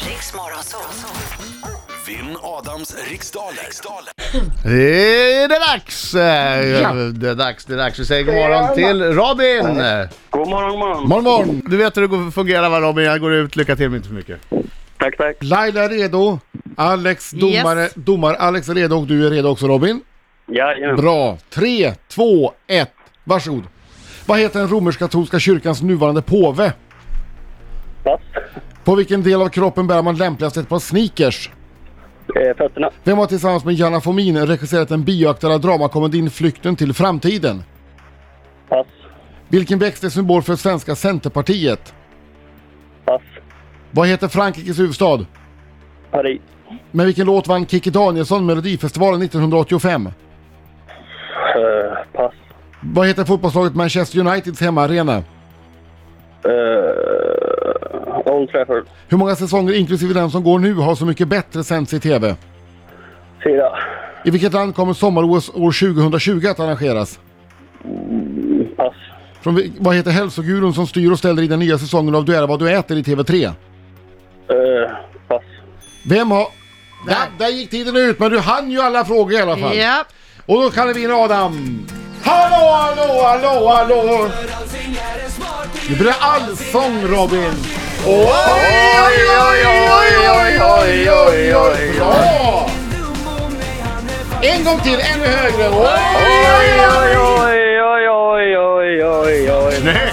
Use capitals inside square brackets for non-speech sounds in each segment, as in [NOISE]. Riks Morgonzoo. Vinn Adams riksdaler. riksdaler. Det är dags! eh, Det är dags, det är dags. Vi säger god morgon till Robin! God morgon, god morgon. Morgon, morgon! Du vet hur det går- fungerar va Robin? Jag går ut, lycka till men inte för mycket. Tack, tack. Laila är redo. Alex domare, Yes. domar-Alex är redo och du är redo också Robin. Jajamän. Bra. Tre, två, ett. Varsågod. Vad heter den romersk-katolska kyrkans nuvarande påve? Pass. På vilken del av kroppen bär man lämpligast ett par sneakers? Eh, fötterna. Vem har tillsammans med Janna Fomin regisserat den bioaktuella dramakomedin Flykten till framtiden? Pass. Vilken växt är symbol för svenska Centerpartiet? Pass. Vad heter Frankrikes huvudstad? Paris. Med vilken låt vann Kikki Danielsson Melodifestivalen 1985? Eh, pass. Vad heter fotbollslaget Manchester Uniteds hemmaarena? Eh, Old Trafford. Hur många säsonger, inklusive den som går nu, har Så mycket bättre sänts i TV? Fyra. I vilket land kommer sommar-OS år 2020 att arrangeras? Pass. Från, vil- vad heter hälsogurun som styr och ställer i den nya säsongen av Du är vad du äter i TV3? Eh, pass. Vem har... Ja, där gick tiden ut, men du hann ju alla frågor i alla fall. Ja. Och då kallar vi in Adam. Hallå, hallå, hallå, hallå! Nu blir det allsång Robin! Oj, oj, oj, oj, oj, oj, oj, oj, Bra! En gång till, ännu högre! Oj, oj, oj, oj! Oj, oj, oj, oj, oj, oj. Nej,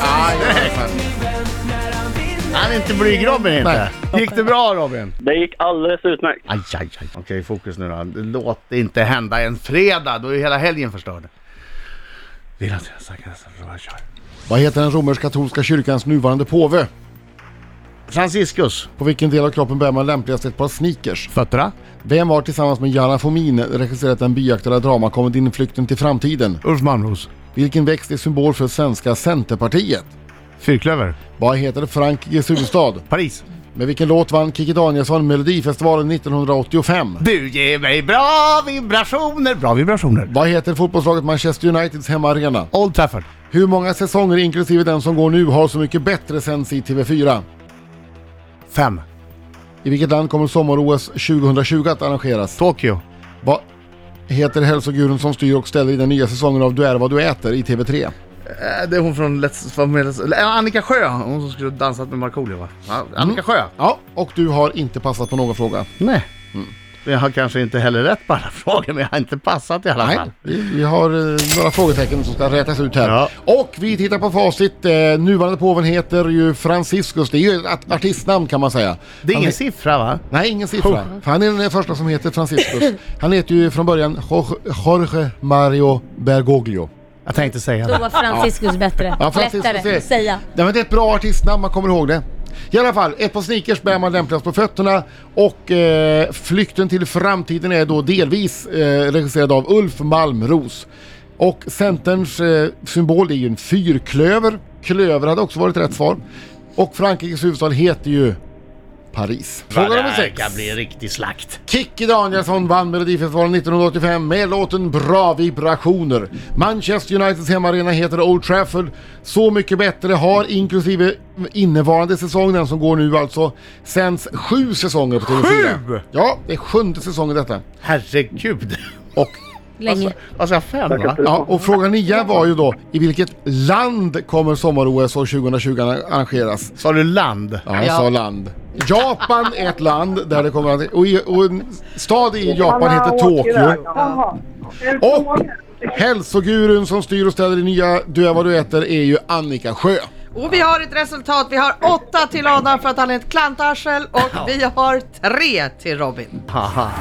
Han är inte blyg Robin inte. Gick det bra Robin? Det gick alldeles utmärkt. Aj, aj, aj. Okej, fokus nu då. Låt det inte hända en fredag, då är hela helgen förstörd. Vill att jag sagt att jag kör. Vad heter den romersk-katolska kyrkans nuvarande påve? Franciscus. På vilken del av kroppen bär man lämpligast ett par sneakers? Fötterna. Vem har tillsammans med Jana Fomin regisserat den byaktade dramakomedin Flykten till framtiden? Ulf Malmros. Vilken växt är symbol för svenska Centerpartiet? Fyrklöver. Vad heter Frankrikes huvudstad? Paris. Med vilken låt vann Kikki Danielsson Melodifestivalen 1985? Du ger mig bra vibrationer. Bra vibrationer. Vad heter fotbollslaget Manchester Uniteds hemmaarena? Old Trafford. Hur många säsonger, inklusive den som går nu, har Så mycket bättre sänds i TV4? Fem. I vilket land kommer sommar-OS 2020 att arrangeras? Tokyo. Vad heter hälsogurun som styr och ställer i den nya säsongen av Du är vad du äter i TV3? Eh, Det är hon från Let's... från Let's eller, eh, Annika Sjö, hon som skulle dansat med Markoolio va? Ja, Annika Sjö? Mm. Ja, och du har inte passat på någon fråga. Nej. Jag har kanske inte heller rätt på alla [LAUGHS] frågor, men jag har inte passat i alla Nej, fall. vi, vi har eh, några frågetecken som ska rätas ut här. Ja. Och vi tittar på facit. Eh, nuvarande påven heter ju Franciscus. Det är ju ett art- artistnamn kan man säga. Det är Han ingen he- siffra va? Nej, ingen siffra. För han är den första som heter Franciscus. Han heter ju från början Jorge, Jorge Mario Bergoglio. Jag tänkte säga Då det. var Franciscus bättre. Ja, Franciscus Lättare är- Alltså, att säga. Nej, men det är ett bra artistnamn, man kommer ihåg det. I alla fall, ett par sneakers bär man lämpligast på fötterna och eh, Flykten till framtiden är då delvis eh, regisserad av Ulf Malmros. Och Centerns eh, symbol är ju en fyrklöver. Klöver hade också varit rätt svar. Och Frankrikes huvudstad heter ju Paris. Fråga nummer Det här sex. kan bli en riktig slakt. Kikki Danielsson vann Melodifestivalen 1985 med låten Bra vibrationer. Manchester Uniteds hemmaarena heter Old Trafford. Så mycket bättre har inklusive innevarande säsong, den som går nu alltså, sänds sju säsonger på TV4. Sju? Ja, det är sjunde säsongen detta. Herregud. [LAUGHS] Och, Länge. Alltså jag har fem va? ja, och fråga nio var ju då, i vilket land kommer sommar-OS år 2020 arrangeras? Sa du land? Ja, jag sa land. Japan är ett land där det kommer att... Och, i, och en stad i Japan heter Tokyo. Och hälsogurun som styr och ställer i nya Du är vad du äter är ju Annika Sjö. Och vi har ett resultat. Vi har åtta till Adam för att han är ett klantarsel och vi har tre till Robin. Haha.